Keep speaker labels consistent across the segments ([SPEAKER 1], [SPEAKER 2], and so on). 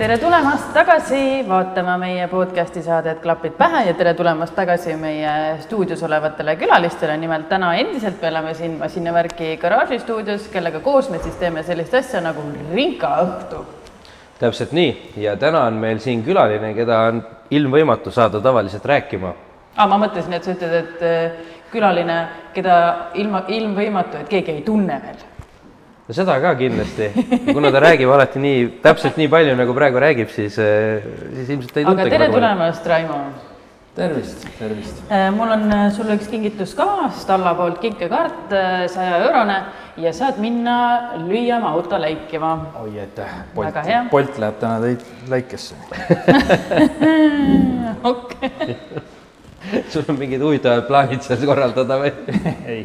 [SPEAKER 1] tere tulemast tagasi vaatama meie podcasti saadet Klapid pähe ja tere tulemast tagasi meie stuudios olevatele külalistele. nimelt täna endiselt me oleme siin masinavärki garaaži stuudios, kellega koos me siis teeme sellist asja nagu rinkaõhtu.
[SPEAKER 2] täpselt nii ja täna on meil siin külaline , keda on ilmvõimatu saada tavaliselt rääkima .
[SPEAKER 1] aa , ma mõtlesin , et sa ütled , et äh, külaline , keda ilma , ilmvõimatu , et keegi ei tunne veel .
[SPEAKER 2] no seda ka kindlasti , kuna ta räägib alati nii , täpselt nii palju , nagu praegu räägib , siis , siis ilmselt ei
[SPEAKER 1] aga
[SPEAKER 2] tuntagi
[SPEAKER 1] tere
[SPEAKER 2] väga palju .
[SPEAKER 1] tulemast , Raimo
[SPEAKER 3] tervist , tervist .
[SPEAKER 1] Äh, mul on äh, sulle üks kingitus ka , Stalla poolt kinkekaart , sajaeurone ja saad minna lüüama auto läikima .
[SPEAKER 3] oi , aitäh .
[SPEAKER 1] Väga hea.
[SPEAKER 3] Bolt läheb täna täit- , läikesse .
[SPEAKER 1] okei ,
[SPEAKER 2] sul on mingid huvitavad plaanid seal korraldada või ?
[SPEAKER 3] ei ,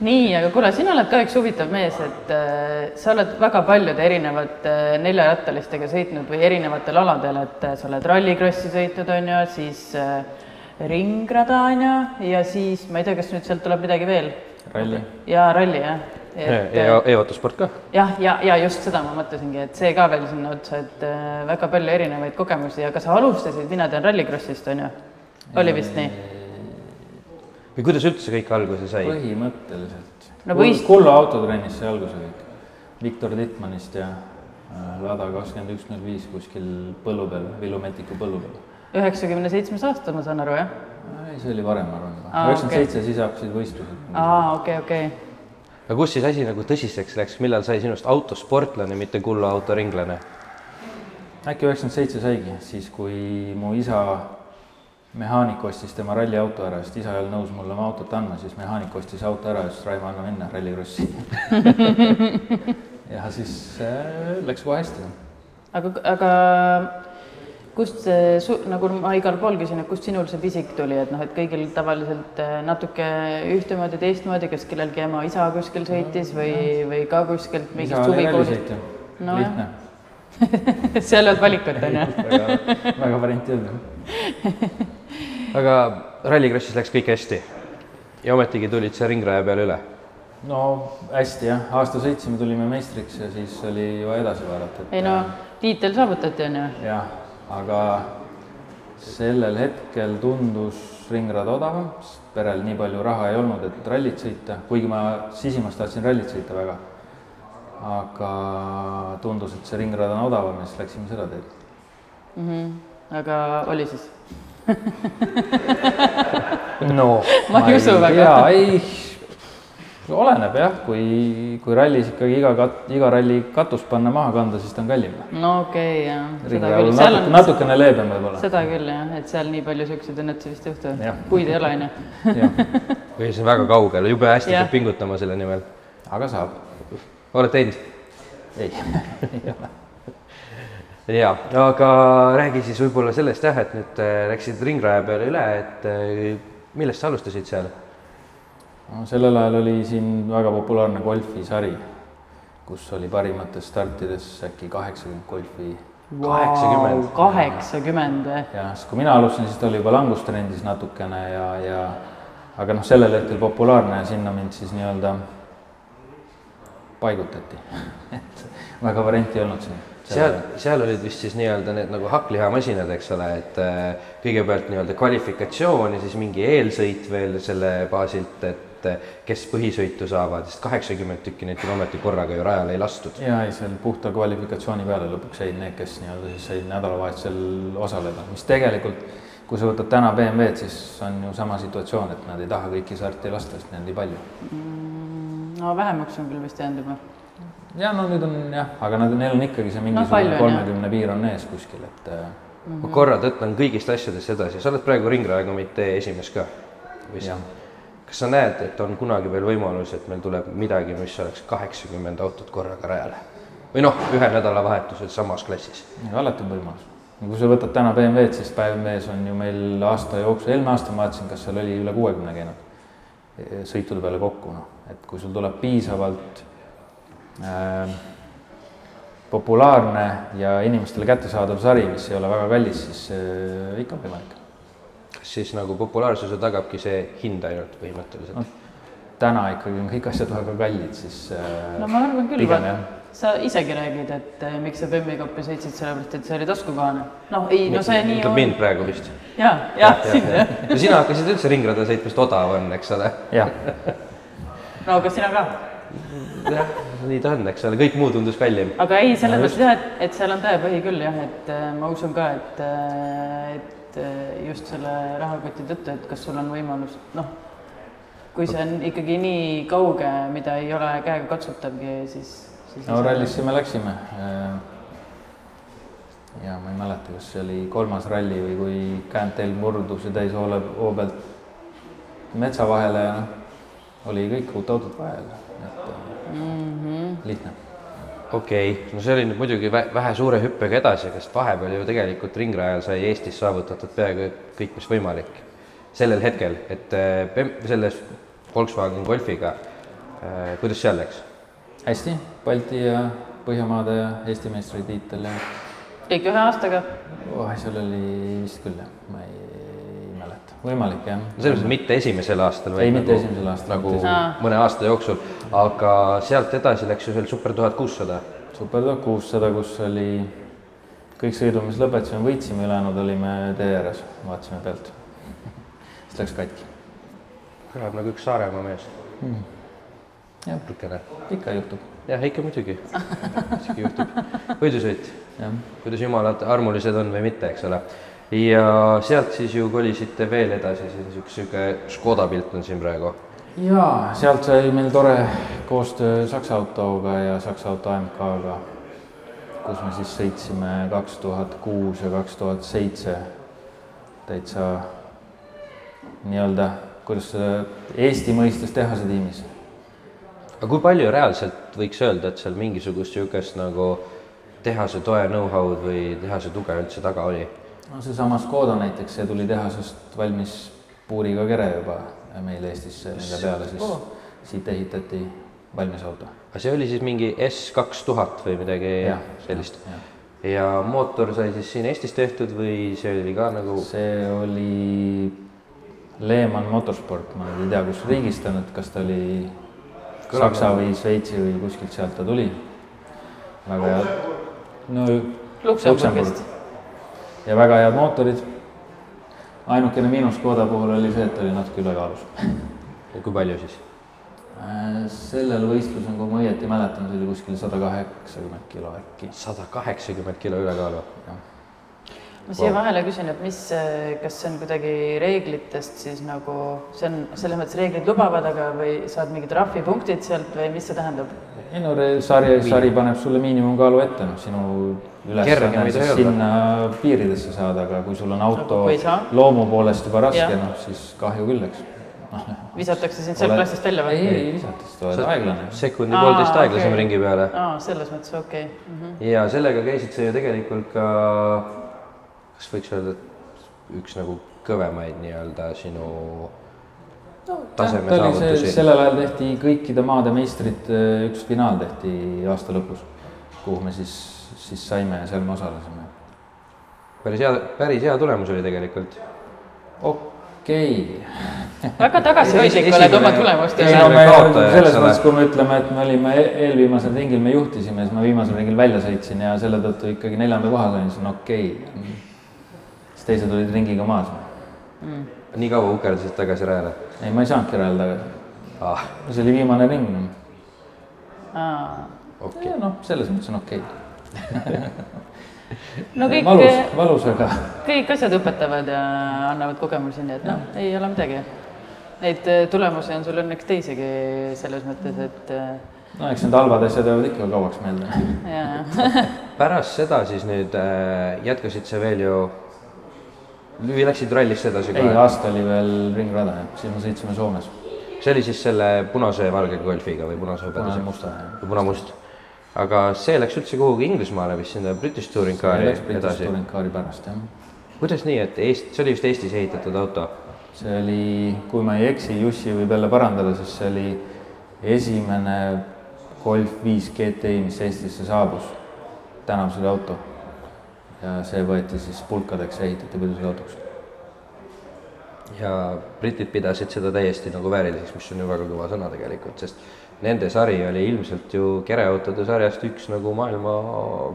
[SPEAKER 1] nii , aga kuule , sina oled ka üks huvitav mees , et äh, sa oled väga paljude erinevate äh, neljarattalistega sõitnud või erinevatel aladel , et äh, sa oled rallikrossi sõitnud , on ju , siis äh, ringrada , on ju , ja siis ma ei tea , kas nüüd sealt tuleb midagi veel
[SPEAKER 3] ralli .
[SPEAKER 1] ja ralli jah . äh,
[SPEAKER 2] ja e- e-autosport ka .
[SPEAKER 1] jah , ja , ja just seda ma mõtlesingi , et see ka veel sinna otsa , et äh, väga palju erinevaid kogemusi , aga sa alustasid , mina tean Rallycrossist , on ju ? oli vist nii ?
[SPEAKER 2] või kuidas üldse kõik alguse sai ?
[SPEAKER 3] põhimõtteliselt
[SPEAKER 1] No võist- .
[SPEAKER 3] Kulla autotrennis sai alguse kõik . Viktor Tittmanist ja äh, Lada kakskümmend üks null viis kuskil põllu peal , Villu Metiku põllu peal .
[SPEAKER 1] üheksakümne seitsmes aasta , ma saan aru , jah ?
[SPEAKER 3] ei , see oli varem , ma arvan juba .
[SPEAKER 1] Aa,
[SPEAKER 3] üheksakümmend seitse , siis hakkasid võistlused .
[SPEAKER 1] aa , okei , okei .
[SPEAKER 2] aga kus siis asi nagu tõsiseks läks , millal sai sinust autosportlane , mitte kulla autoringlane ?
[SPEAKER 3] äkki üheksakümmend seitse saigi , siis kui mu isa mehaanik ostis tema ralliauto ära , sest isa ei olnud nõus mulle oma autot andma , siis mehaanik ostis auto ära ja ütles , Raimo , anna minna rallikrossi . ja siis äh, läks kohe hästi .
[SPEAKER 1] aga , aga kust see su- , nagu ma igal pool küsin , et kust sinul see pisik tuli , et noh , et kõigil tavaliselt äh, natuke ühtemoodi , teistmoodi , kas kellelgi ema-isa kuskil sõitis või , või ka kuskilt
[SPEAKER 3] isa
[SPEAKER 1] mingist
[SPEAKER 3] oli
[SPEAKER 1] huvikoolist ?
[SPEAKER 3] rallisõitja
[SPEAKER 1] No
[SPEAKER 3] no, ,
[SPEAKER 1] jah.
[SPEAKER 3] lihtne ,
[SPEAKER 1] seal ei olnud valikut , on ju ?
[SPEAKER 3] väga, väga varianti ei olnud .
[SPEAKER 2] aga rallikrossis läks kõik hästi ja ometigi tulid sa ringraja peale üle
[SPEAKER 3] no hästi jah , aasta sõitsime , tulime meistriks ja siis oli juba edasi vaadata , et
[SPEAKER 1] ei no tiitel saavutati , on ju ?
[SPEAKER 3] jah , aga sellel hetkel tundus ringrada odavam , sest perel nii palju raha ei olnud , et rallit sõita , kuigi ma sisimas tahtsin rallit sõita väga . aga tundus , et see ringrada on odavam ja siis läksime seda teed .
[SPEAKER 1] mm . -hmm. aga oli siis ?
[SPEAKER 3] no
[SPEAKER 1] Ma ei usu väga.
[SPEAKER 3] Noh, tea , ei , oleneb jah , kui , kui rallis ikkagi iga kat- , iga ralli katus panna maha kanda , siis ta on kallim .
[SPEAKER 1] no okei okay, , jah . seda
[SPEAKER 3] ringrajal
[SPEAKER 1] küll ,
[SPEAKER 3] on
[SPEAKER 1] seal
[SPEAKER 3] natuke ,
[SPEAKER 1] on ,
[SPEAKER 3] natukene leebem võib-olla .
[SPEAKER 1] seda küll jah , et seal nii palju siukseid õnnetusi vist juhtub
[SPEAKER 3] Jah. ,
[SPEAKER 1] kuid ei ole , on ju .
[SPEAKER 3] jah ,
[SPEAKER 2] või see on väga kaugel , jube hästi
[SPEAKER 1] Jah.
[SPEAKER 2] peab pingutama selle nimel .
[SPEAKER 3] aga saab .
[SPEAKER 2] oled teinud ?
[SPEAKER 3] ei ei ole .
[SPEAKER 2] jaa , aga räägi siis võib-olla sellest jah , et nüüd äh, läksid ringraja peale üle , et äh, millest sa alustasid seal ?
[SPEAKER 3] no sellel ajal oli siin väga populaarne golfisari , kus oli parimates startides äkki kaheksakümmend golfi
[SPEAKER 2] 80.
[SPEAKER 1] kaheksakümmend või ?
[SPEAKER 3] ja siis , kui mina alustasin , siis ta oli juba langustrendis natukene ja , ja aga noh , sellel hetkel populaarne ja sinna mind siis nii-öelda paigutati . et väga varianti ei olnud siin .
[SPEAKER 2] seal , seal olid vist siis nii-öelda need nagu hakklihamasinad , eks ole , et äh, kõigepealt nii-öelda kvalifikatsioon ja siis mingi eelsõit veel selle baasilt , et äh, kes põhisõitu saavad , sest kaheksakümmend tükki neid kilomeetri korraga ju rajale ei lastud .
[SPEAKER 3] ja ei , seal puhta kvalifikatsiooni peale lõpuks jäid need , kes nii-öelda siis said nädalavahetusel osaleda , mis tegelikult , kui sa võtad täna BMW-d , siis on ju sama situatsioon , et nad ei taha kõiki sarti lasta , sest neid on nii palju .
[SPEAKER 1] no vähemaks on küll vist jäänud juba .
[SPEAKER 3] ja no nüüd on jah , aga nad , neil on ikkagi see
[SPEAKER 1] palju on,
[SPEAKER 3] mingisugune
[SPEAKER 1] jah.
[SPEAKER 3] kolmekümne no, piir on ees kuskil , et äh,
[SPEAKER 2] ma korra tõttan kõigist asjadest edasi , sa oled praegu Ringraja komitee esimees ka ?
[SPEAKER 3] jah .
[SPEAKER 2] kas sa näed , et on kunagi veel võimalus , et meil tuleb midagi , mis oleks kaheksakümmend autot korraga rajale ? või noh , ühe nädalavahetusel samas klassis .
[SPEAKER 3] aga alati on võimalus . kui sa võtad täna BMW-d , siis BMW-s on ju meil aasta jooksul , eelmine aasta ma vaatasin , kas seal oli üle kuuekümne käinud eh, sõitude peale kokku , noh , et kui sul tuleb piisavalt äh, populaarne ja inimestele kättesaadav sari , mis ei ole väga kallis , siis äh, ikka on võimalik .
[SPEAKER 2] kas siis nagu populaarsuse tagabki see hind ainult põhimõtteliselt ?
[SPEAKER 3] täna ikkagi on kõik asjad väga kallid , siis äh,
[SPEAKER 1] no ma arvan küll ,
[SPEAKER 3] pigem jah .
[SPEAKER 1] sa isegi räägid , et eh, miks sa bemmi kappi sõitsid , sellepärast et see oli taskukohane . noh , ei , no see nii
[SPEAKER 2] ütleb
[SPEAKER 1] on .
[SPEAKER 2] mind praegu vist .
[SPEAKER 1] ja , jah , sinna jah .
[SPEAKER 2] ja sina hakkasid üldse ringrada sõitma , sest odav on , eks ole .
[SPEAKER 3] jah ,
[SPEAKER 1] no aga sina ka .
[SPEAKER 2] jah , nii ta on , eks ole , kõik muu tundus kallim .
[SPEAKER 1] aga ei , selles
[SPEAKER 3] No
[SPEAKER 1] mõttes jah , et , et seal on tõepõhi küll jah , et eh, ma usun ka , et , et eh, just selle rahakoti tõttu , et kas sul on võimalus , noh , kui see on ikkagi nii kauge , mida ei ole käega katsutavgi , siis, siis .
[SPEAKER 3] no . rallisse me läksime . ja ma ei mäleta , kas see oli kolmas ralli või kui kääntel murdus ja täis hoole , hoo pealt metsa vahele ja noh , oli kõik uut autot vaja jälle , et äh, lihtne .
[SPEAKER 2] okei okay. , no see oli nüüd muidugi vä vähe suure hüppega edasi , sest vahepeal ju tegelikult ringrajal sai Eestis saavutatud peaaegu kõik , mis võimalik . sellel hetkel , et äh, Bem- selles Volkswagen Golfiga , kuidas seal läks ?
[SPEAKER 3] hästi , Balti ja Põhjamaade ja Eesti meistritiitel ja
[SPEAKER 1] kõik ühe aastaga
[SPEAKER 3] oh, seal oli vist küll jah , ma ei mäleta , võimalik jah .
[SPEAKER 2] no selles mõttes mitte esimesel aastal ,
[SPEAKER 3] Ei, mitte esimesel aastal,
[SPEAKER 2] nagu
[SPEAKER 3] mitte
[SPEAKER 1] esimesel.
[SPEAKER 2] mõne aasta jooksul , aga sealt edasi läks ju veel Super tuhat kuussada .
[SPEAKER 3] Supertag kuussada , kus oli kõik sõidud , mis lõpetasime , võitsime , ülejäänud olime tee ääres , vaatasime pealt . siis läks katki .
[SPEAKER 2] kõlab nagu üks Saaremaa mees
[SPEAKER 3] Hmm. jah ,
[SPEAKER 2] natukene .
[SPEAKER 3] ikka juhtub ,
[SPEAKER 2] jah , ikka muidugi , muidugi juhtub . võidusõit ,
[SPEAKER 3] jah .
[SPEAKER 2] kuidas jumalad armulised on või mitte , eks ole . ja sealt siis ju kolisite veel edasi , see on niisugune Škoda pilt on siin praegu .
[SPEAKER 3] ja sealt sai meil tore koostöö Saksa autoga ja Saksa auto AMK-ga , kus me siis sõitsime kaks tuhat kuus ja kaks tuhat seitse täitsa nii-öelda , kuidas seda Eesti mõistes tehase tiimis
[SPEAKER 2] aga kui palju reaalselt võiks öelda , et seal mingisugust niisugust nagu tehase toe know-how'd või tehase tuge üldse taga oli ?
[SPEAKER 3] no seesama Škoda näiteks , see tuli tehasest valmis puuriga kere juba meil Eestisse , mille peale siis siit ehitati valmis auto .
[SPEAKER 2] aga see oli siis mingi S kaks tuhat või midagi
[SPEAKER 3] Jah.
[SPEAKER 2] sellist ? ja mootor sai siis siin Eestis tehtud või see oli ka nagu ,
[SPEAKER 3] see oli Lehman Motorsport , ma nüüd ei tea , kus riigist ta nüüd , kas ta oli
[SPEAKER 2] Kõlab
[SPEAKER 3] Saksa või Šveitsi või kuskilt sealt ta tuli . väga hea , no
[SPEAKER 1] Luksemburgist
[SPEAKER 3] Luksemburg. . ja väga head mootorid . ainukene miinus Škoda puhul oli see , et ta oli natuke ülekaalus
[SPEAKER 2] kui palju siis ?
[SPEAKER 3] Äh, sellel võistlusel , kui ma õieti mäletan , see oli kuskil sada kaheksakümmend kilo äkki .
[SPEAKER 2] sada kaheksakümmend kilo ülekaalu .
[SPEAKER 1] ma siia vahele küsin , et mis , kas see on kuidagi reeglitest siis nagu , see on selles mõttes reeglid lubavad , aga või saad mingid trahvipunktid sealt või mis see tähendab ?
[SPEAKER 3] ei no re- sari , sari paneb sulle miinimumkaalu ette , noh , sinu
[SPEAKER 2] Kergem
[SPEAKER 3] ülesanne on
[SPEAKER 2] ei
[SPEAKER 3] siis
[SPEAKER 2] tohi olla.
[SPEAKER 3] sinna piiridesse saada , aga kui sul on auto
[SPEAKER 1] kui ei saa?
[SPEAKER 3] loomu poolest juba raske ,
[SPEAKER 1] Jah.
[SPEAKER 3] noh , siis kahju küll , eks .
[SPEAKER 1] visatakse sind sealt klassist välja
[SPEAKER 3] ei ,
[SPEAKER 1] või ?
[SPEAKER 3] ei ei visata , siis sa oled aeglane .
[SPEAKER 2] sekundi-poolteist
[SPEAKER 1] Aa,
[SPEAKER 2] aeglasem
[SPEAKER 1] okei.
[SPEAKER 2] ringi peale
[SPEAKER 1] aa , selles mõttes okei okay. mm .
[SPEAKER 2] ja sellega käisid sa ju tegelikult ka , kas võiks öelda , et üks nagu kõvemaid nii-öelda sinu taseme saavutusi .
[SPEAKER 3] sellel ajal tehti kõikide maade meistrid , üks finaal tehti aasta lõpus , kuhu me siis , siis saime ja seal me osalesime
[SPEAKER 2] päris hea , päris hea tulemus oli tegelikult .
[SPEAKER 3] okei
[SPEAKER 1] -hmm. väga tagasihoidlik
[SPEAKER 2] Esi-
[SPEAKER 1] oled oma
[SPEAKER 2] esimene-
[SPEAKER 1] tulemustele
[SPEAKER 2] Ei,
[SPEAKER 3] okay. .
[SPEAKER 2] esimene-
[SPEAKER 1] no. .
[SPEAKER 2] me kaotaja,
[SPEAKER 3] selles
[SPEAKER 2] eks ole.
[SPEAKER 3] mõttes , kui me ütleme , et me olime e- eelviimasel ringil , me juhtisime , siis ma viimasel ringil välja sõitsin ja selle tõttu ikkagi neljanda koha sain , siis on okei okay. . siis teised olid ringiga maas .
[SPEAKER 2] nii kaua ukerdasid tagasi rajale
[SPEAKER 3] ei , ma ei saanudki rajal tagasi .
[SPEAKER 2] ah, ?
[SPEAKER 3] see oli viimane ring .
[SPEAKER 2] Okei.
[SPEAKER 3] noh , selles mõttes on okei okay. .
[SPEAKER 1] no kõik ,
[SPEAKER 3] valus , valus , aga
[SPEAKER 1] kõik asjad õpetavad ja annavad kogemusi , nii et noh , ei ole midagi . Neid eh, tulemusi on sul õnneks teisigi selles mõttes , et eh,
[SPEAKER 3] no eks need halvad asjad jäävad ikka kauaks meelde .
[SPEAKER 1] jaa .
[SPEAKER 2] pärast seda siis nüüd äh, jätkasid sa veel ju , või läksid rallisse edasi
[SPEAKER 3] ei ,
[SPEAKER 2] kohe ?
[SPEAKER 3] aasta oli veel ringrada , siis me sõitsime Soomes .
[SPEAKER 2] see oli siis selle punase ja valge golfiga või punase
[SPEAKER 3] punane
[SPEAKER 2] hõbedase või
[SPEAKER 3] musta ja
[SPEAKER 2] punamust . aga see läks üldse kuhugi Inglismaale vist sinna British Touring Cari
[SPEAKER 3] läks British
[SPEAKER 2] edasi .
[SPEAKER 3] Touring Cari pärast jah
[SPEAKER 2] kuidas nii , et Eest- , see oli vist Eestis ehitatud auto ?
[SPEAKER 3] see oli , kui ma ei eksi , Jussi võib jälle parandada , siis see oli esimene Golf viis GTI , mis Eestisse saabus . tänav see oli auto ja see võeti siis pulkadeks ja ehitati põdusõiduautoks .
[SPEAKER 2] ja britid pidasid seda täiesti nagu vääriliseks , mis on ju väga kõva sõna tegelikult , sest nende sari oli ilmselt ju kereautode sarjast üks nagu maailma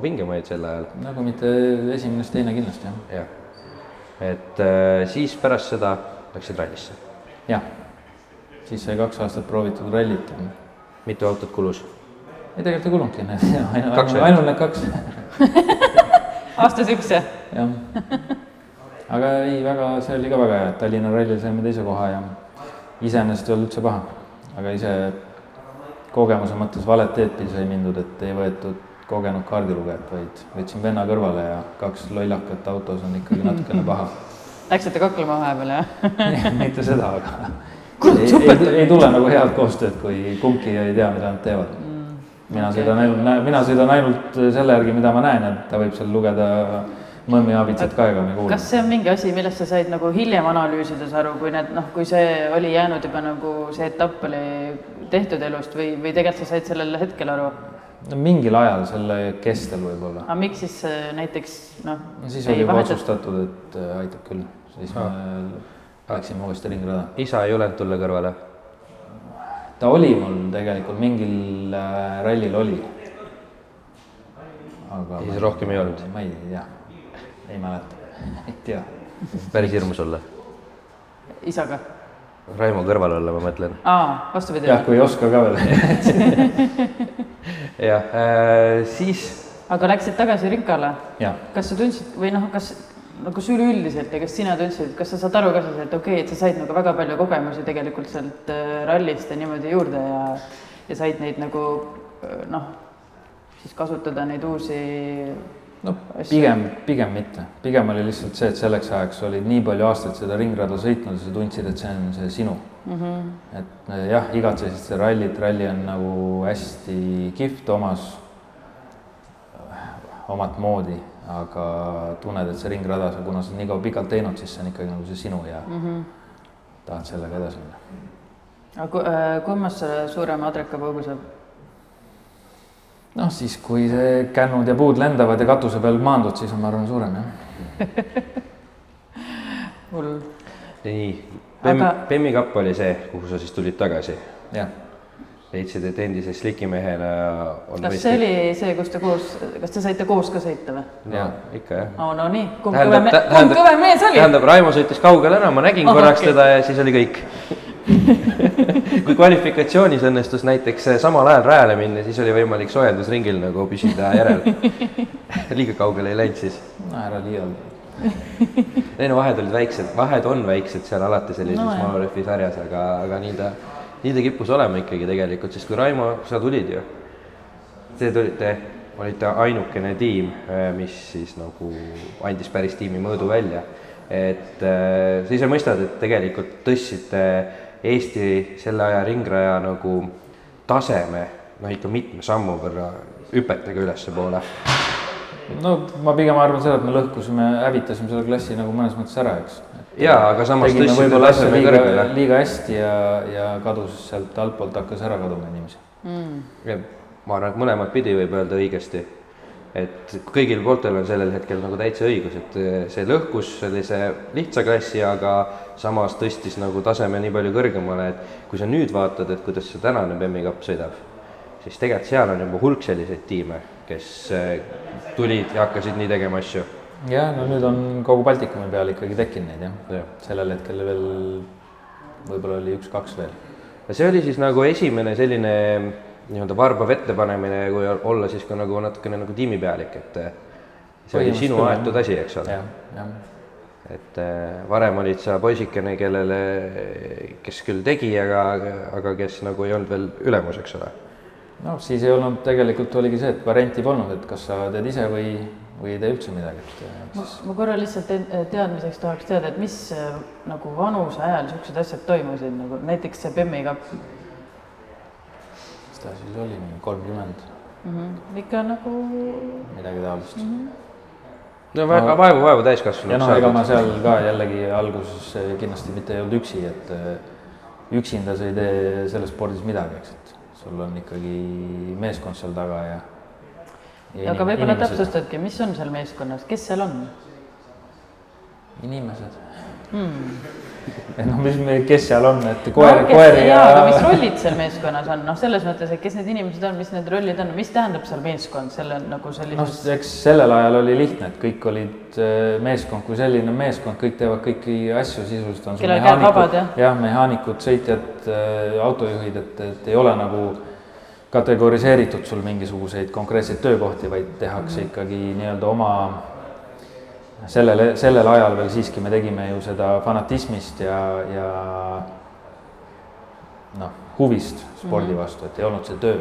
[SPEAKER 2] vingemaid sel ajal .
[SPEAKER 3] nagu mitte esimene , siis teine kindlasti jah .
[SPEAKER 2] jah , et äh, siis pärast seda läksid rallisse .
[SPEAKER 3] jah , siis sai kaks aastat proovitud rallit .
[SPEAKER 2] mitu autot kulus ?
[SPEAKER 3] ei , tegelikult ei kulunudki need ,
[SPEAKER 2] Kaks ainult.
[SPEAKER 3] ainult need kaks ,
[SPEAKER 1] aastas üks jah ?
[SPEAKER 3] jah . aga ei , väga , see oli ka väga hea , et Tallinna rallil saime teise koha ja iseenesest ei olnud üldse paha . aga ise kogemuse mõttes valet teed pidi sai mindud , et ei võetud kogenud kaardilugejat , vaid võtsin venna kõrvale ja kaks lollakat autos on ikkagi natukene paha
[SPEAKER 1] Läksite kaklema vahepeal jah ?
[SPEAKER 3] mitte seda , aga
[SPEAKER 1] Kurat,
[SPEAKER 3] ei, ei,
[SPEAKER 1] super.
[SPEAKER 3] ei tule nagu head koostööd , kui kumbki ei tea , mida nad teevad . mina sõidan ainult , mina sõidan ainult selle järgi , mida ma näen , et ta võib seal lugeda mõmmi aabitsat ka , ega me ei kuule
[SPEAKER 1] kas . see on mingi asi , millest sa said nagu hiljem analüüsides aru , kui need noh , kui see oli jäänud juba nagu see etapp oli tehtud elust või , või tegelikult sa said sellel hetkel aru ?
[SPEAKER 3] no mingil ajal selle kestel võib-olla .
[SPEAKER 1] aga miks siis äh, näiteks noh
[SPEAKER 3] no siis
[SPEAKER 1] ei
[SPEAKER 3] oli juba
[SPEAKER 1] vahetatud-
[SPEAKER 3] otsustatud , et äh, aitab küll . siis me läksime uuesti ringrada .
[SPEAKER 2] isa ei julenud tulla kõrvale .
[SPEAKER 3] ta oli mul tegelikult mingil äh, rallil oli . aga
[SPEAKER 2] siis rohkem ei olnud .
[SPEAKER 3] ma ei tea , ei mäleta , ei tea
[SPEAKER 2] päris hirmus olla .
[SPEAKER 1] isaga ?
[SPEAKER 2] Raimo kõrval olla , ma mõtlen .
[SPEAKER 1] aa , vastupidi .
[SPEAKER 3] jah , kui ei oska ka veel .
[SPEAKER 2] jah äh, , siis
[SPEAKER 1] aga läksid tagasi Rinkale ?
[SPEAKER 3] jah ,
[SPEAKER 1] kas sa tundsid või noh , kas no kas üleüldiselt ja kas sina tundsid , kas sa saad aru ka siis , et okei okay, , et sa said nagu väga palju kogemusi tegelikult sealt äh, rallist ja niimoodi juurde ja ja said neid nagu äh, noh , siis kasutada neid uusi
[SPEAKER 2] Noh,
[SPEAKER 3] no
[SPEAKER 1] Asju.
[SPEAKER 3] pigem , pigem mitte , pigem oli lihtsalt see , et selleks ajaks olid nii palju aastaid seda ringrada sõitnud ja sa tundsid , et see on see sinu mm . -hmm. et äh, jah , igatsesid seda rallit , ralli on nagu hästi kihvt omas , omat moodi , aga tunned , et see ringrada , sa kuna sa oled nii kaua pikalt teinud , siis see on ikkagi nagu see sinu ja mm -hmm. tahad sellega edasi minna .
[SPEAKER 1] aga ku- äh, kummast selle suurema adrekapaugu saab ?
[SPEAKER 3] noh , siis kui see kännud ja puud lendavad ja katuse peal maandud , siis on , ma arvan , suurem jah
[SPEAKER 1] hull .
[SPEAKER 2] nii , Bemm
[SPEAKER 1] Aga- ,
[SPEAKER 2] Bemmi kapp oli see , kuhu sa siis tulid tagasi .
[SPEAKER 3] jah ,
[SPEAKER 2] leidsid , et endise slikimehena on
[SPEAKER 1] kas see oli see , kus te koos , kas te saite koos ka sõita või ?
[SPEAKER 2] no, ? ikka jah .
[SPEAKER 1] no no nii , kumb kõvem , kumb kõvem mees oli ?
[SPEAKER 2] tähendab , Raimo sõitis kaugele ära , ma nägin
[SPEAKER 1] Ahah,
[SPEAKER 2] korraks
[SPEAKER 1] okei.
[SPEAKER 2] teda ja siis oli kõik . kui kvalifikatsioonis õnnestus näiteks samal ajal rajale minna , siis oli võimalik soojendusringil nagu püsida järel . liiga kaugele ei läinud siis .
[SPEAKER 3] no ära liialda .
[SPEAKER 2] ei no vahed olid väiksed , vahed on väiksed seal alati sellises
[SPEAKER 1] No
[SPEAKER 2] no,
[SPEAKER 1] jah.
[SPEAKER 2] Malorfi sarjas , aga , aga nii ta , nii ta kippus olema ikkagi tegelikult , sest kui Raimo , sa tulid ju . Te tulite , olite ainukene tiim , mis siis nagu andis päris tiimi mõõdu välja . et äh, sa ise mõistad , et tegelikult tõstsite Eesti selle aja ringraja nagu taseme , noh ikka mitme sammu võrra hüpetega ülespoole .
[SPEAKER 3] no ma pigem arvan seda , et me lõhkusime , hävitasime selle klassi nagu mõnes mõttes ära , eks .
[SPEAKER 2] jaa , aga samas
[SPEAKER 3] tegime
[SPEAKER 2] tõstsite
[SPEAKER 3] võib-olla asja
[SPEAKER 2] taseme
[SPEAKER 3] liiga
[SPEAKER 2] kõrgele ,.
[SPEAKER 3] liiga hästi ja , ja kadus sealt altpoolt hakkas ära kaduma inimesi .
[SPEAKER 1] Mm.
[SPEAKER 2] ja ma arvan , et mõlemat pidi võib öelda õigesti . et kõigil pooltel on sellel hetkel nagu täitsa õigus , et see lõhkus sellise lihtsa klassi , aga samas tõstis nagu taseme nii palju kõrgemale , et kui sa nüüd vaatad , et kuidas see tänane Bemmi kapp sõidab , siis tegelikult seal on juba hulk selliseid tiime , kes eh, tulid ja hakkasid nii tegema asju .
[SPEAKER 3] ja no nüüd on kogu Baltikumi peal ikkagi tekkinud neid jah . sellel hetkel veel võib-olla oli üks-kaks veel .
[SPEAKER 2] ja see oli siis nagu esimene selline nii-öelda varba vette panemine , kui olla siis ka nagu natukene nagu tiimipealik , et eh, see oli
[SPEAKER 3] Põhimõtteliselt
[SPEAKER 2] sinu
[SPEAKER 3] küll, jah.
[SPEAKER 2] aetud asi , eks ole .
[SPEAKER 3] jah , jah
[SPEAKER 2] et äh, varem olid sa poisikene , kellele , kes küll tegi , aga , aga kes nagu ei olnud veel ülemus , eks ole .
[SPEAKER 3] noh , siis ei olnud , tegelikult oligi see , et varianti polnud , et kas sa teed ise või , või ei tee üldse midagi , et et
[SPEAKER 1] ma
[SPEAKER 3] siis
[SPEAKER 1] ma korra lihtsalt te- teadmiseks tahaks teada , et mis äh, nagu vanuse ajal niisugused asjad toimusid , nagu näiteks see Bemmi kapp
[SPEAKER 3] mis ta siis oli , mingi kolmkümmend ,
[SPEAKER 1] mm . -hmm. ikka nagu
[SPEAKER 3] midagi taolist mm . -hmm.
[SPEAKER 2] no väga vaevu , vaevu täiskasvanuks
[SPEAKER 3] ja noh , ega ma
[SPEAKER 2] saadud .
[SPEAKER 3] seal ka jällegi alguses eh, kindlasti mitte ei olnud üksi , et eh, üksinda sa ei tee selles spordis midagi , eks , et sul on ikkagi meeskond seal taga ja, ja .
[SPEAKER 1] aga võib-olla . täpsustadki , mis on seal meeskonnas , kes seal on
[SPEAKER 3] inimesed ,
[SPEAKER 1] hmm. ?
[SPEAKER 3] et noh , mis me , kes seal on , et koer ,
[SPEAKER 1] no, kes-
[SPEAKER 3] koer ja
[SPEAKER 1] jaa , aga mis rollid seal meeskonnas on , noh , selles mõttes , et kes need inimesed on , mis need rollid on , mis tähendab seal meeskond , selle nagu
[SPEAKER 3] noh
[SPEAKER 1] sellises ,,
[SPEAKER 3] eks sellel ajal oli lihtne , et kõik olid äh, meeskond kui selline meeskond , kõik teevad kõiki asju sisuliselt , on sul
[SPEAKER 1] Kellel käed vabad,
[SPEAKER 3] mehaanikud
[SPEAKER 1] jah? ,
[SPEAKER 3] jah , mehaanikud , sõitjad , autojuhid , et , et ei ole nagu kategoriseeritud sul mingisuguseid konkreetseid töökohti , vaid tehakse
[SPEAKER 1] Mhm.
[SPEAKER 3] mm -hmm. ikkagi nii-öelda oma sellele , sellel ajal veel siiski me tegime ju seda fanatismist ja , ja noh , huvist
[SPEAKER 1] Mhm.
[SPEAKER 3] spordi vastu , et ei olnud see töö ,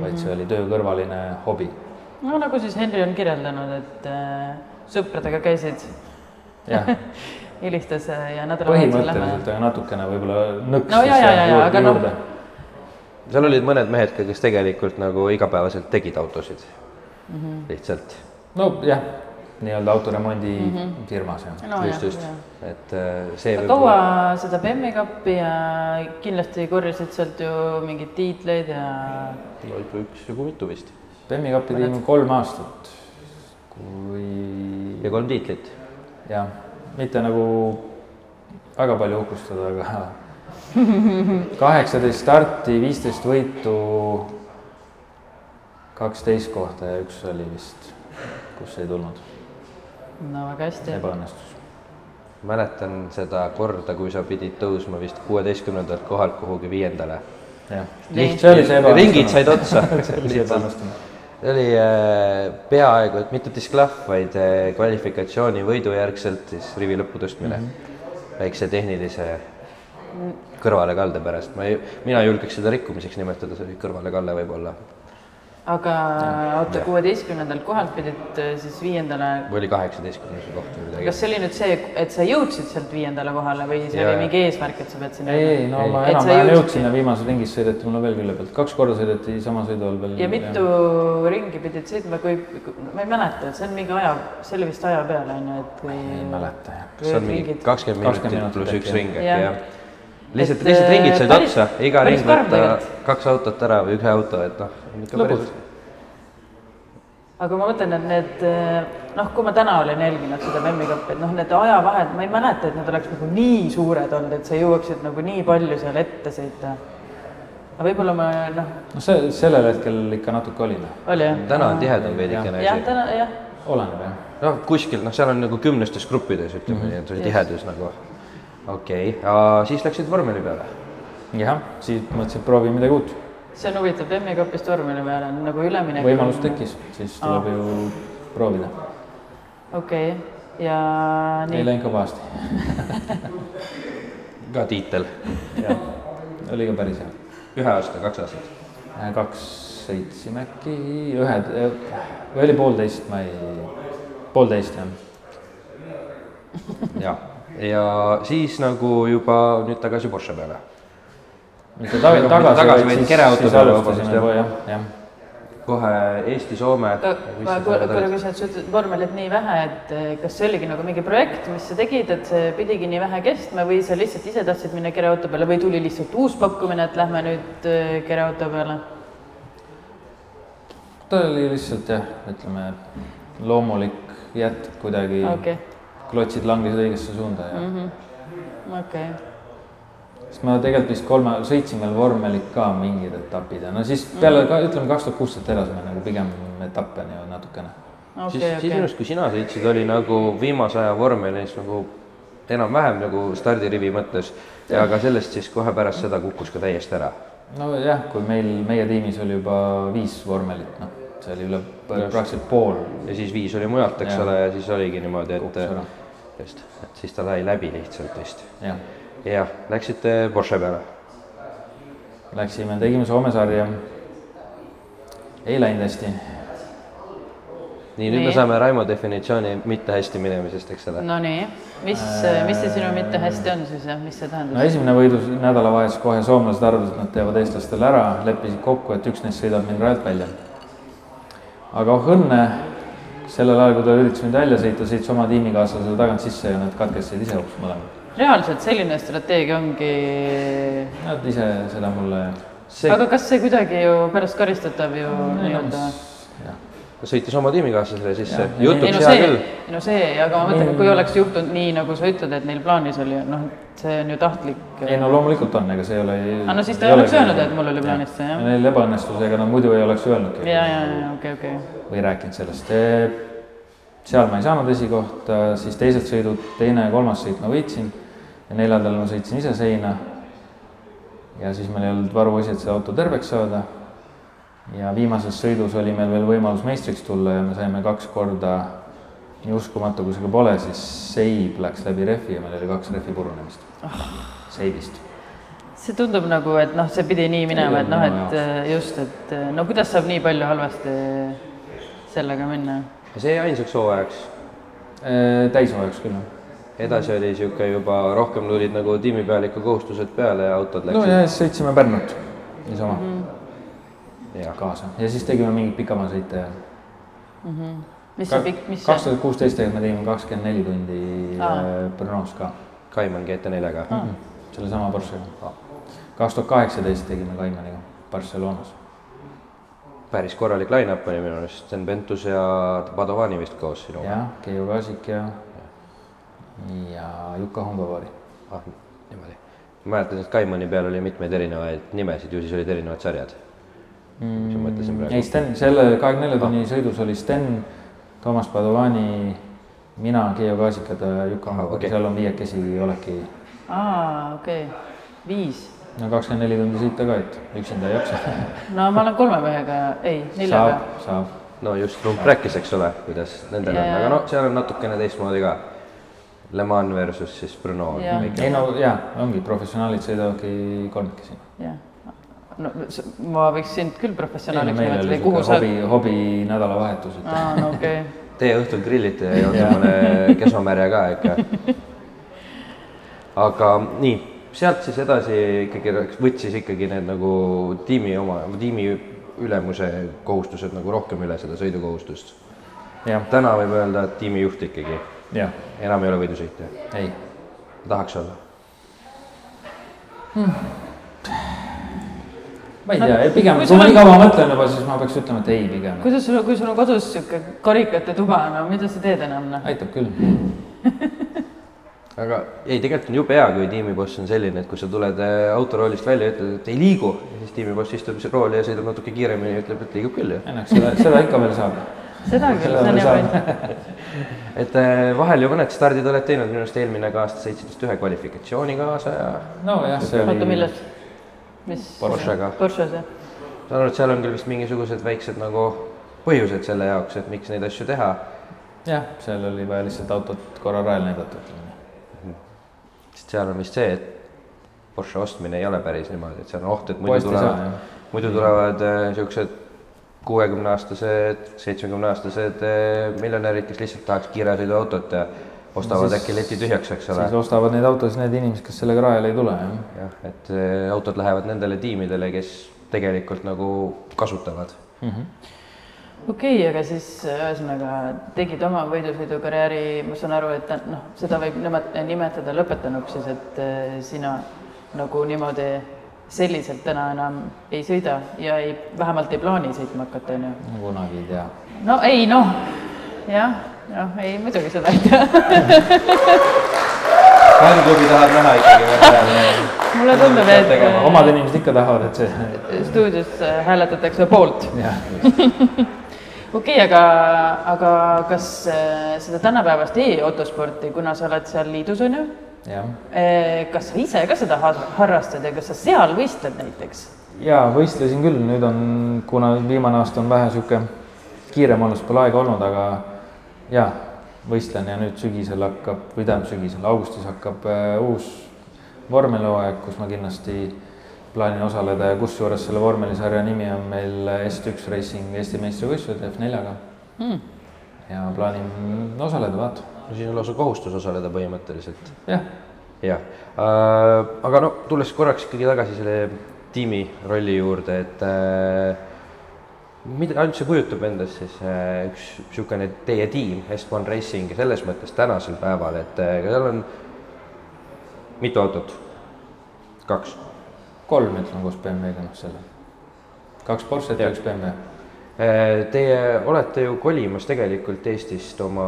[SPEAKER 3] vaid see oli töö kõrvaline hobi
[SPEAKER 1] no nagu siis Henri on kirjeldanud , et äh, sõpradega käisid ,
[SPEAKER 3] jah ,
[SPEAKER 1] helistas äh, ja nädalavahetusel lähme .
[SPEAKER 3] põhimõtteliselt , aga natukene võib-olla nõks
[SPEAKER 1] No ja, ja, ja, aga noh-
[SPEAKER 2] seal olid mõned mehed ka , kes tegelikult nagu igapäevaselt tegid autosid mm
[SPEAKER 3] Mhm.
[SPEAKER 2] -hmm. lihtsalt
[SPEAKER 3] nojah , nii-öelda autoremondi mm -hmm. firmas jah .
[SPEAKER 1] no
[SPEAKER 2] just , just , et äh, see
[SPEAKER 1] sa
[SPEAKER 2] võib-
[SPEAKER 1] kaua seda bemmi kappi ja kindlasti korjasid sealt ju mingeid tiitleid ja
[SPEAKER 2] no ikka üksjagu mitu vist
[SPEAKER 3] Bemmi kappi tegime kolm aastat , kui
[SPEAKER 2] ja kolm tiitlit .
[SPEAKER 3] jah , mitte nagu väga palju uhkustada , aga kaheksateist starti , viisteist võitu , kaksteist kohta ja üks oli vist , kus ei tulnud ,
[SPEAKER 1] no väga hästi .
[SPEAKER 3] ebaõnnestus .
[SPEAKER 2] mäletan seda korda , kui sa pidid tõusma vist kuueteistkümnendalt kohalt kuhugi viiendale .
[SPEAKER 3] jah ,
[SPEAKER 1] Nii.
[SPEAKER 3] see oli see ebaõnnestunud .
[SPEAKER 2] ringid said otsa .
[SPEAKER 3] see oli see ebaõnnestunud .
[SPEAKER 2] see oli äh, peaaegu , et mitte disklahv , vaid äh, kvalifikatsiooni võidujärgselt siis rivi lõppu tõstmine mm .
[SPEAKER 1] Mhm.
[SPEAKER 2] -hmm. väikse tehnilise kõrvalekalde pärast , ma ei , mina ei julgeks seda rikkumiseks nimetada , see oli kõrvalekalle võib-olla .
[SPEAKER 1] aga oota , kuueteistkümnendalt kohalt pidid äh, siis viiendale ,
[SPEAKER 2] või oli kaheksateistkümnes koht või midagi .
[SPEAKER 1] kas see oli nüüd see , et sa jõudsid sealt viiendale kohale või see
[SPEAKER 2] Jaa.
[SPEAKER 1] oli mingi eesmärk , et sa pead sinna
[SPEAKER 3] ei , ei , no ma
[SPEAKER 1] Et sa
[SPEAKER 3] enam-vähem
[SPEAKER 1] jõudsid-
[SPEAKER 3] jõudsin ja viimases ringis sõideti mulle veel külje pealt , kaks korda sõideti sama sõidu all veel .
[SPEAKER 1] ja mitu ringi pidid sõitma , kui , ma ei mäleta , see on mingi aja , see oli vist aja peal on ju , et kui .
[SPEAKER 3] ei mäleta jah .
[SPEAKER 2] see on mingi kakskümmend
[SPEAKER 3] 20
[SPEAKER 2] minutit
[SPEAKER 3] minutit
[SPEAKER 2] pluss
[SPEAKER 3] äkki,
[SPEAKER 2] üks
[SPEAKER 3] jah.
[SPEAKER 2] ring äkki
[SPEAKER 1] Jah.
[SPEAKER 2] jah . lihtsalt ,
[SPEAKER 1] Et,
[SPEAKER 2] lihtsalt ringid
[SPEAKER 1] äh,
[SPEAKER 2] said
[SPEAKER 1] päris-
[SPEAKER 2] otsa , iga
[SPEAKER 1] päris
[SPEAKER 2] ring
[SPEAKER 1] karm
[SPEAKER 2] võtta
[SPEAKER 1] tegelikult.
[SPEAKER 2] kaks autot ära või ühe auto , et noh .
[SPEAKER 3] Lõbus. .
[SPEAKER 1] aga ma mõtlen , et need eh, noh , kui ma täna olen jälginud seda Memmi kappi , et noh , need ajavahed , ma ei mäleta , et need oleks nagu nii suured olnud , et sa jõuaksid nagu nii palju seal ette sõita . aga võib-olla ma noh ,
[SPEAKER 3] no see , sellel hetkel ikka natuke oli või ?
[SPEAKER 1] oli jah ?
[SPEAKER 2] täna on tihedam veidikene
[SPEAKER 1] jah ,
[SPEAKER 2] asi .
[SPEAKER 1] täna jah ,
[SPEAKER 3] oleneb jah .
[SPEAKER 2] noh , kuskil noh , seal on nagu kümnestes gruppides ,
[SPEAKER 1] Mhm.
[SPEAKER 2] ütleme nii , et oli tihedus nagu . okei , siis läksid vormeli peale .
[SPEAKER 3] jah , siis mõtlesin , et proovi midagi uut .
[SPEAKER 1] see on huvitav , Memmi kapist tormile peale on nagu üleminek .
[SPEAKER 3] võimalus . tekkis , siis tuleb ju proovida .
[SPEAKER 1] okei okay. ja
[SPEAKER 3] ei
[SPEAKER 1] nii ,
[SPEAKER 3] läinud ka pahasti .
[SPEAKER 2] ka tiitel ,
[SPEAKER 3] oli ka päris hea .
[SPEAKER 2] ühe aasta , kaks aastat .
[SPEAKER 3] kaks sõitsime äkki , ühed , või oli poolteist , ma ei , poolteist jah .
[SPEAKER 2] ja , ja siis nagu juba nüüd tagasi Porsche peale .
[SPEAKER 3] mitte tagasi ,
[SPEAKER 2] Tagasi
[SPEAKER 3] tagasi ,
[SPEAKER 2] vaid
[SPEAKER 3] vaid siis ,
[SPEAKER 2] kereauto
[SPEAKER 3] siis
[SPEAKER 2] peale vabandust,
[SPEAKER 3] alustasime
[SPEAKER 2] jah.
[SPEAKER 3] juba jah , jah
[SPEAKER 2] kohe Eesti-Soome .
[SPEAKER 1] Äh, ma kuule , kui sa ütlesid vormelit nii vähe , et eh, kas see oligi nagu mingi projekt , mis sa tegid , et see pidigi nii vähe kestma või sa lihtsalt ise tahtsid minna kereauto peale või tuli lihtsalt uus pakkumine , et lähme nüüd eh, kereauto peale ?
[SPEAKER 3] ta oli lihtsalt jah , ütleme loomulik jätk kuidagi
[SPEAKER 1] okei ,
[SPEAKER 3] klotsid langesid õigesse suunda ja mm -hmm.
[SPEAKER 1] okei ,
[SPEAKER 3] siis ma tegelikult vist kolme , sõitsin veel vormelit ka mingid etapid ja no siis peale ka ütleme kaks tuhat kuusteist edasi me nagu pigem etappe nii-öelda natukene .
[SPEAKER 2] siis ,
[SPEAKER 1] okei ,
[SPEAKER 2] siis minu
[SPEAKER 1] okei .
[SPEAKER 2] arust , kui sina sõitsid , oli nagu viimase aja vormelis nagu enam-vähem nagu stardirivi mõttes ja ka sellest siis kohe pärast seda kukkus ka täiesti ära .
[SPEAKER 3] nojah , kui meil , meie tiimis oli juba viis vormelit , noh , see oli üle praktiliselt pool
[SPEAKER 2] ja siis viis oli mujalt , eks
[SPEAKER 3] Jaa.
[SPEAKER 2] ole , ja siis oligi niimoodi ,
[SPEAKER 3] Kukkus ära.
[SPEAKER 2] et just , et siis ta sai läbi lihtsalt vist .
[SPEAKER 3] jah .
[SPEAKER 2] jah , läksite Porsche peale .
[SPEAKER 3] Läksime , tegime Soome sarja . ei läinud hästi ,
[SPEAKER 2] nii , nüüd me
[SPEAKER 1] Nii.
[SPEAKER 2] saame Raimo definitsiooni mitte hästi minemisest , eks ole .
[SPEAKER 1] Nonii , mis ,
[SPEAKER 2] Äh.
[SPEAKER 1] mis see sinu mitte hästi on siis jah , mis see
[SPEAKER 3] no
[SPEAKER 1] tähendab ?
[SPEAKER 3] esimene võidus nädalavahetus kohe soomlased arvasid , et nad teevad eestlastele ära , leppisid kokku , et üks neist sõidab mind rajalt välja . aga oh õnne , sellel ajal , kui ta üritas mind välja sõita , sõitis oma tiimikaaslasele tagant sisse ja nad katkestasid ise hoopis mõlemad .
[SPEAKER 1] reaalselt selline strateegia ongi ,
[SPEAKER 3] Nad ise seda mulle
[SPEAKER 2] see
[SPEAKER 1] aga kas see kuidagi ju pärast karistatav ju
[SPEAKER 3] enamus
[SPEAKER 1] nii-öelda ,,
[SPEAKER 3] jah ,
[SPEAKER 2] sõitis oma tiimikaaslasele sisse
[SPEAKER 3] Jah. ,
[SPEAKER 1] ei
[SPEAKER 2] jutuks
[SPEAKER 1] no
[SPEAKER 2] hea
[SPEAKER 1] see
[SPEAKER 2] küll ,,
[SPEAKER 1] no see , aga ma mõtlen ,
[SPEAKER 3] Mm.
[SPEAKER 1] kui oleks juhtunud nii , nagu sa ütled , et neil plaanis oli , noh , see on ju tahtlik .
[SPEAKER 3] ei no loomulikult on , ega see ei ole .
[SPEAKER 1] Aga Ah, no siis ta ei oleks öelnud, et mul oli plaanis see, jah.
[SPEAKER 3] Neil ebaõnnestus , ega nad muidu ei oleks öelnudki .
[SPEAKER 1] ja , ja , ja okei , okei .
[SPEAKER 3] või rääkinud sellest . seal ma ei saanud esikohta , siis teised sõidud , teine ja kolmas sõit ma võitsin ja neljandal ma sõitsin ise seina . ja siis meil ei olnud varuosi , et see auto terveks saada . ja viimases sõidus oli meil veel võimalus meistriks tulla ja me saime kaks korda , nii uskumatu kui see ka pole , siis seib läks läbi rehvi ja meil oli kaks rehvi purunemist seibist .
[SPEAKER 1] see tundub nagu , et noh , see pidi nii minema ,
[SPEAKER 3] Ei,
[SPEAKER 1] et noh ,
[SPEAKER 3] minu
[SPEAKER 1] et eh, just , et eh, no kuidas saab nii palju halvasti sellega minna ?
[SPEAKER 2] see jäi ainsaks hooajaks .
[SPEAKER 3] täishooajaks küll .
[SPEAKER 2] edasi oli niisugune juba rohkem tulid nagu tiimipealiku kohustused peale ja autod
[SPEAKER 3] no
[SPEAKER 2] läksid
[SPEAKER 3] ja siis sõitsime Pärnut niisama mm . -hmm
[SPEAKER 1] Mhm.
[SPEAKER 2] no, jah ,
[SPEAKER 3] kaasa ja siis tegime mingeid pikamaasõite ja
[SPEAKER 1] mis see pikk , mis
[SPEAKER 3] kaks
[SPEAKER 1] see ,
[SPEAKER 3] tuhat kuusteist tegelikult me tegime kakskümmend neli tundi
[SPEAKER 1] Aa.
[SPEAKER 3] äh, Brno's ka ,
[SPEAKER 2] Kaiman GT4-ga ah. .
[SPEAKER 3] sellesama Porschega . kaks tuhat kaheksateist tegime Kaimaniga Barcelonas .
[SPEAKER 2] päris korralik line-up oli minu arust , Sten Pentus ja Padovani vist koos sinuga .
[SPEAKER 3] jah , Keiu Kaasik ja , ja Juka Humbavari .
[SPEAKER 2] ah, . niimoodi . ma mäletan , et Kaimani peal oli mitmeid erinevaid nimesid , ju siis olid erinevad sarjad mm. . mis ma mõtlesin
[SPEAKER 3] ei ,
[SPEAKER 2] praegu .
[SPEAKER 3] Sten , selle kahekümne
[SPEAKER 1] Ah.
[SPEAKER 3] nelja tunni sõidus oli Sten , Toomas Padovani , mina , Keiu Kaasikad ja
[SPEAKER 1] Ah,
[SPEAKER 3] Juka Humbavari
[SPEAKER 2] okei.
[SPEAKER 3] okay. , seal on viiekesi olekski .
[SPEAKER 1] aa , okei , viis .
[SPEAKER 3] no kakskümmend neli tundi sõita ka , et üksinda ei jaksa .
[SPEAKER 1] no ma olen kolme mehega , ei , neljaga
[SPEAKER 3] saab ., saab
[SPEAKER 2] no just Trump rääkis , eks ole , kuidas nendel yeah.
[SPEAKER 1] Jaa.
[SPEAKER 2] on , aga noh , seal on natukene teistmoodi ka . Le Mans versus siis Bruno
[SPEAKER 1] Jaa.
[SPEAKER 2] yeah. .
[SPEAKER 3] ei no jaa , ongi , professionaalid sõidavadki kolmekesi .
[SPEAKER 1] jah , no s- ma võiks sind küll professionaaliks
[SPEAKER 3] meil
[SPEAKER 1] nimetada
[SPEAKER 3] oli
[SPEAKER 1] või kuhu sa ,
[SPEAKER 3] sihuke
[SPEAKER 1] Ah.
[SPEAKER 3] hobi , hobi nädalavahetus , et
[SPEAKER 1] aa , no okei okay.
[SPEAKER 2] Teie õhtul grillite ja joote mõne kesomärja ka ikka . aga nii , sealt siis edasi ikkagi läks- võtsis ikkagi need nagu tiimi oma , tiimi ülemuse kohustused nagu rohkem üle seda sõidukohustust .
[SPEAKER 3] jah ,
[SPEAKER 2] täna võib öelda , et tiimijuht ikkagi ,
[SPEAKER 3] jah ,
[SPEAKER 2] enam ei ole võidusõitja ,
[SPEAKER 3] ei .
[SPEAKER 2] tahaks olla .
[SPEAKER 3] ma ei
[SPEAKER 1] No,
[SPEAKER 3] tea , pigem
[SPEAKER 1] kui
[SPEAKER 3] kui
[SPEAKER 1] sul
[SPEAKER 3] ma
[SPEAKER 1] on-
[SPEAKER 3] nii kaua mõtlen juba , siis ma peaks ütlema , et ei pigem .
[SPEAKER 1] kuidas sul , kui sul on kodus sihuke karikate tuba , no mida sa teed enam , noh ?
[SPEAKER 3] aitab küll .
[SPEAKER 2] aga ei , tegelikult on jube hea , kui tiimiboss on selline , et kui sa tuled äh, autoroolist välja ja ütled , et ei liigu , siis tiimiboss istub seal rooli ja sõidab natuke kiiremini ja ütleb , et liigub küll ju .
[SPEAKER 3] õnneks seda , seda ikka veel saab .
[SPEAKER 1] seda küll , see on hea point .
[SPEAKER 2] et äh, vahel ju mõned stardid oled teinud , minu arust eelmine ka aasta sõitsid vist ühe kvalifikatsiooni kaasa ja
[SPEAKER 3] nojah , see
[SPEAKER 1] oota ,
[SPEAKER 3] oli ,
[SPEAKER 1] milles ? mis ?
[SPEAKER 2] Porschega.
[SPEAKER 1] Porsche's jah ?
[SPEAKER 2] saan aru , et seal on küll vist mingisugused väiksed nagu põhjused selle jaoks , et miks neid asju teha .
[SPEAKER 3] jah , seal oli vaja lihtsalt autot korra rajal näidata , ütleme nii .
[SPEAKER 2] sest seal on vist see , et Porsche ostmine ei ole päris niimoodi , et seal on oht , et muidu
[SPEAKER 3] poest ei saa
[SPEAKER 2] tulevad ,
[SPEAKER 3] jah .
[SPEAKER 2] muidu tulevad niisugused kuuekümneaastased , seitsmekümneaastased äh, miljonärid , kes lihtsalt tahaks kiiresõiduautot ja ostavad
[SPEAKER 3] Siis-
[SPEAKER 2] äkki leti tühjaks , eks ole
[SPEAKER 3] siis . ostavad neid autosid need inimesed , kes sellega rajale ei tule , jah .
[SPEAKER 2] jah , et äh, autod lähevad nendele tiimidele , kes tegelikult nagu kasutavad .
[SPEAKER 1] okei okay, , aga siis äh, ühesõnaga tegid oma võidusõidukarjääri , ma saan aru , et ta- noh , seda võib nimet- , nimetada lõpetanuks siis , et eh, sina nagu niimoodi selliselt täna enam ei sõida ja ei , vähemalt ei plaani sõitma hakata , on ju ?
[SPEAKER 3] kunagi ei tea .
[SPEAKER 1] no ei noh , jah , noh ei muidugi seda ei tea .
[SPEAKER 2] fännklubi tahab näha ikkagi väga hea .
[SPEAKER 1] mulle tundub , et äh,
[SPEAKER 3] omad inimesed ikka tahavad , et see ,
[SPEAKER 1] stuudios äh, hääletatakse poolt .
[SPEAKER 3] jah .
[SPEAKER 1] okei okay, , aga , aga kas äh, seda tänapäevast e-autosporti , kuna sa oled seal liidus , on ju ,
[SPEAKER 3] jah
[SPEAKER 1] kas sa ise ka seda har- harrastad ja kas sa seal võistled näiteks ?
[SPEAKER 3] jaa , võistlesin küll , nüüd on , kuna viimane aasta on vähe niisugune kiirem olnud , siis pole aega olnud , aga jaa , võistlen ja nüüd sügisel hakkab , või tähendab sügisel , augustis hakkab äh, uus vormelhooaeg , kus ma kindlasti plaanin osaleda ja kusjuures selle vormelisarja nimi on meil S1 Racing Eesti meistrivõistlused F4-ga
[SPEAKER 1] Hmm.
[SPEAKER 3] ja plaanin osaleda , vaata ,
[SPEAKER 2] no siis on lausa kohustus osaleda põhimõtteliselt .
[SPEAKER 3] jah ,
[SPEAKER 2] jah äh, , aga no tulles korraks ikkagi tagasi selle tiimi rolli juurde , et äh, mida üldse kujutab endast siis äh, üks niisugune teie tiim , Estbon Racing ja selles mõttes tänasel päeval , et äh, seal on mitu autot ? kaks .
[SPEAKER 3] kolm ütleme koos BMW-ga , noh selle , kaks Porsche't ja üks BMW
[SPEAKER 2] Äh, Teie olete ju kolimas tegelikult Eestist oma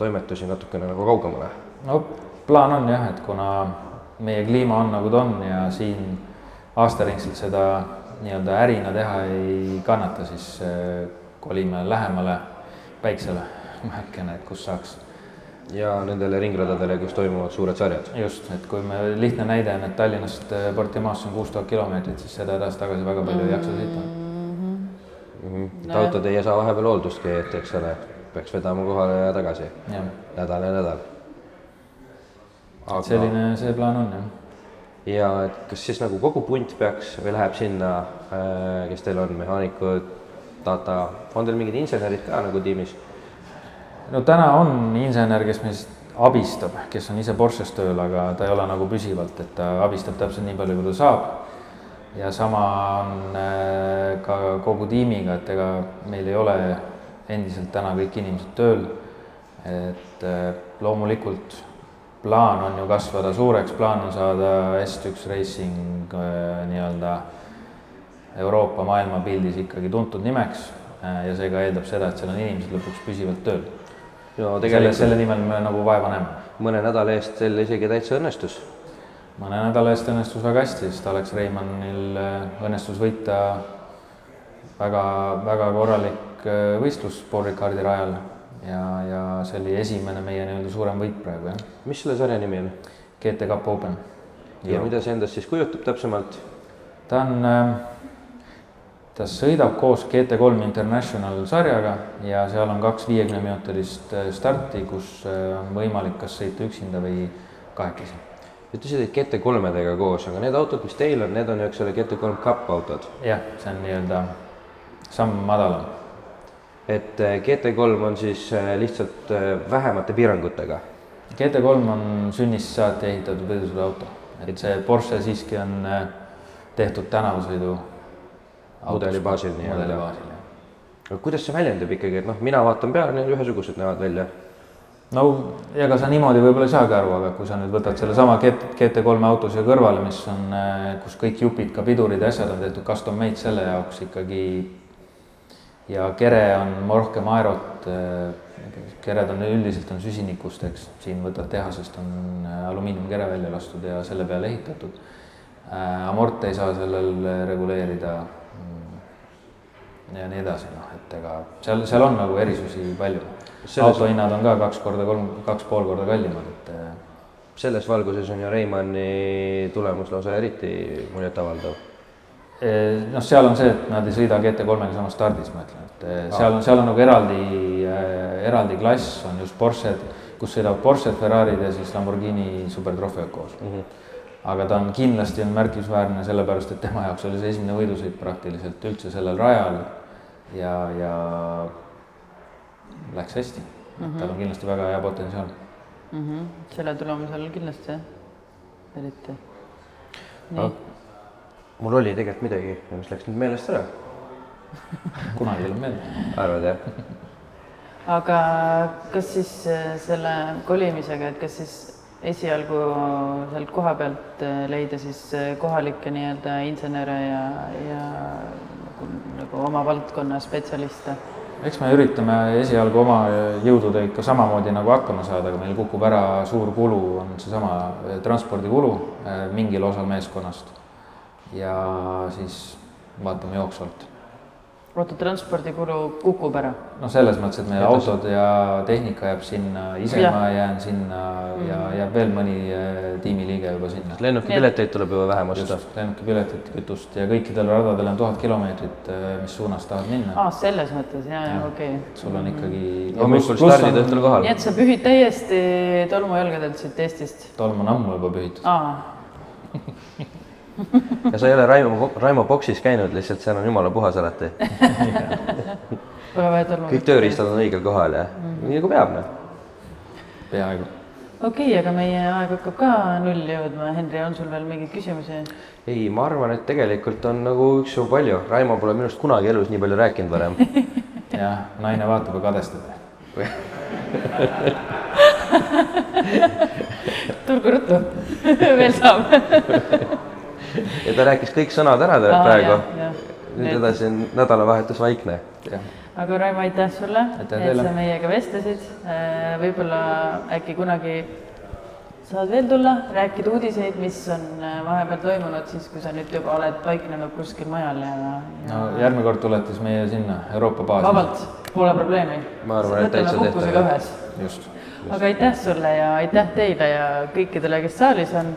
[SPEAKER 2] toimetusi natukene nagu kaugemale.
[SPEAKER 3] no plaan on jah , et kuna meie kliima on nagu ta on ja siin aastaringselt seda nii-öelda ärina teha ei kannata , siis äh, kolime lähemale päiksele vähekene , kus saaks .
[SPEAKER 2] ja nendele ringradadele , kus toimuvad suured sarjad .
[SPEAKER 3] just , et kui me , lihtne näide on , et Tallinnast äh, Portimaasse on kuus tuhat kilomeetrit , siis seda edasi-tagasi väga palju ei jaksa sõita .
[SPEAKER 2] no. autod Mhm. ei saa vahepeal hooldustki , et eks ole , peaks vedama kohale ja tagasi
[SPEAKER 3] jah ,
[SPEAKER 2] nädal ja nädal . aga ,
[SPEAKER 3] selline see plaan on jah
[SPEAKER 2] ja et kas siis nagu kogu punt peaks või läheb sinna , kes teil on , mehaanikud , data , on teil mingid insenerid ka nagu tiimis ?
[SPEAKER 3] no täna on insener , kes meist abistab , kes on ise Porsches tööl , aga ta ei ole nagu püsivalt , et ta abistab täpselt nii palju , kui ta saab . ja sama on äh, ka kogu tiimiga , et ega meil ei ole endiselt täna kõik inimesed tööl . et äh, loomulikult plaan on ju kasvada suureks , plaan on saada S1 Racing äh, nii-öelda Euroopa maailmapildis ikkagi tuntud nimeks äh, ja see ka eeldab seda , et seal on inimesed lõpuks püsivalt tööl
[SPEAKER 2] no
[SPEAKER 3] selle ,
[SPEAKER 2] tegelikult
[SPEAKER 3] selle nimel me nagu vaeva näeme .
[SPEAKER 2] mõne nädala eest teil isegi täitsa õnnestus .
[SPEAKER 3] mõne nädala eest õnnestus väga hästi , sest Alex Reimannil äh, õnnestus võita väga-väga korralik äh, võistlus Paul Ricardi rajal ja , ja see oli esimene meie nii-öelda suurem võit praegu jah ,
[SPEAKER 2] mis selle sarja nimi on
[SPEAKER 3] GT Cup Open .
[SPEAKER 2] ja, ja mida see endast siis kujutab täpsemalt ?
[SPEAKER 3] ta on , ta sõidab koos GT3 International sarjaga ja seal on kaks viiekümneminutilist äh, starti , kus äh, on võimalik kas sõita üksinda või kahekesi .
[SPEAKER 2] ütlesid , et GT3-dega koos , aga need autod , mis teil on , need on ju , eks ole , GT3 Cup autod .
[SPEAKER 3] jah , see on nii-öelda samm madalam
[SPEAKER 2] et eh, GT3 on siis eh, lihtsalt eh, vähemate piirangutega .
[SPEAKER 3] GT3 on sünnist saati ehitatud võidusõiduauto , et see Porsche siiski on äh, tehtud tänavasõidu .
[SPEAKER 2] Mudeli baasil nii-öelda.
[SPEAKER 3] mudeli baasil , jah .
[SPEAKER 2] aga kuidas see väljendub ikkagi , et noh , mina vaatan peale , need ühesugused näevad välja .
[SPEAKER 3] no ega sa niimoodi võib-olla ei saagi aru , aga kui sa nüüd võtad sellesama GT- GT3 auto siia kõrvale , mis on , kus kõik jupid , ka pidurid ja asjad on tehtud custom made selle jaoks ikkagi . ja kere on rohkem aerot , kered on üldiselt on süsinikust , eks , siin võtad tehasest on äh, alumiiniumkere välja lastud ja selle peale ehitatud . Amort ei saa sellel äh, reguleerida mm, ja nii edasi , noh , et ega seal , seal on nagu erisusi palju
[SPEAKER 2] Selles-
[SPEAKER 3] autohinnad on ka kaks korda kolm , kaks pool korda kallimad , et äh,
[SPEAKER 2] selles valguses on ju Reimanni tulemus lausa eriti muljetavaldav .
[SPEAKER 3] eh, noh , seal on see , et nad ei sõida GT3-ga samas stardis , ma ütlen , et eh, seal on , seal on nagu eraldi , eraldi klass on just Porsche'd , kus sõidavad Porsche'd , Ferrari'd ja siis Lamborghini supertrofeod koos mm . -hmm. aga ta on kindlasti on märkimisväärne sellepärast , et tema jaoks oli see esimene võidusõit praktiliselt üldse sellel rajal ja , ja läks hästi mm . -hmm. tal on kindlasti väga hea potentsiaal
[SPEAKER 1] mm . -hmm. selle tulemusel kindlasti jah , eriti .
[SPEAKER 2] mul oli tegelikult midagi , mis läks nüüd meelest ära ,
[SPEAKER 3] kunagi tuleb meelde .
[SPEAKER 2] arvad jah ?
[SPEAKER 1] aga kas siis äh, selle kolimisega , et kas siis esialgu sealt koha pealt äh, leida siis äh, kohalikke nii-öelda insenere ja , ja nagu, nagu oma valdkonna spetsialiste ?
[SPEAKER 3] eks me üritame esialgu oma jõududega ikka samamoodi nagu hakkama saada , aga meil kukub ära suur kulu , on seesama eh, transpordikulu eh, mingil osal meeskonnast . ja siis vaatame jooksvalt .
[SPEAKER 1] oota , transpordikulu kukub ära ?
[SPEAKER 3] noh , selles mõttes , et meie autod ja tehnika jääb sinna , ise
[SPEAKER 1] Jah. Mhm.
[SPEAKER 3] ma jään sinna ja jääb veel mõni eh, tiimiliige juba sinna .
[SPEAKER 2] lennukipileteid tuleb juba vähem osta .
[SPEAKER 3] lennukipiletit , kütust ja kõikidel radadel on tuhat kilomeetrit , mis suunas tahad minna .
[SPEAKER 1] aa , Ah, selles mõttes ja , ja okei okay. .
[SPEAKER 3] sul on ikkagi .
[SPEAKER 2] hommikul stardid , õhtul kohal
[SPEAKER 1] nii . et sa pühid täiesti tolmujalgadelt siit Eestist ? Ah,
[SPEAKER 3] tolm on ammu juba pühitud .
[SPEAKER 1] aa ,
[SPEAKER 2] ja sa ei ole Raimo , Raimo boksis käinud , lihtsalt seal on jumala puhas alati .
[SPEAKER 1] väga vähe tolmu .
[SPEAKER 2] kõik tööriistad on õigel kohal ja
[SPEAKER 3] Mhm.
[SPEAKER 2] nii nagu peab , noh .
[SPEAKER 3] peaaegu .
[SPEAKER 1] okei okay, , aga meie aeg hakkab ka nulli jõudma , Henri , on sul veel mingeid küsimusi ?
[SPEAKER 2] ei , ma arvan , et tegelikult on nagu üksjagu palju , Raimo pole minust kunagi elus nii palju rääkinud varem .
[SPEAKER 3] jah , naine vaatab ja kadestab .
[SPEAKER 1] tulgu ruttu , veel saab .
[SPEAKER 2] ja ta rääkis kõik sõnad ära tegelikult praegu . nüüd edasi on nädalavahetus vaikne .
[SPEAKER 3] jah ,
[SPEAKER 1] aga Raivo , aitäh sulle , et
[SPEAKER 3] Aitäh teile.
[SPEAKER 1] sa meiega vestlesid . võib-olla äkki kunagi saad veel tulla , rääkida uudiseid , mis on äh, vahepeal toimunud , siis kui sa nüüd juba oled paiknenud kuskil mujal ja, ja
[SPEAKER 3] no järgmine kord tuletas meie sinna Euroopa baasi .
[SPEAKER 1] vabalt , pole probleemi .
[SPEAKER 2] Ma arvan, et täitsa
[SPEAKER 1] võtame puhkusega
[SPEAKER 2] tehtav.
[SPEAKER 1] ühes .
[SPEAKER 3] just ,
[SPEAKER 1] aga aitäh sulle ja aitäh teile ja kõikidele , kes saalis on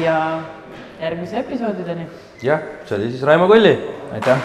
[SPEAKER 1] ja järgmise episoodideni
[SPEAKER 2] jah , see oli siis Raimo Kulli
[SPEAKER 3] aitäh .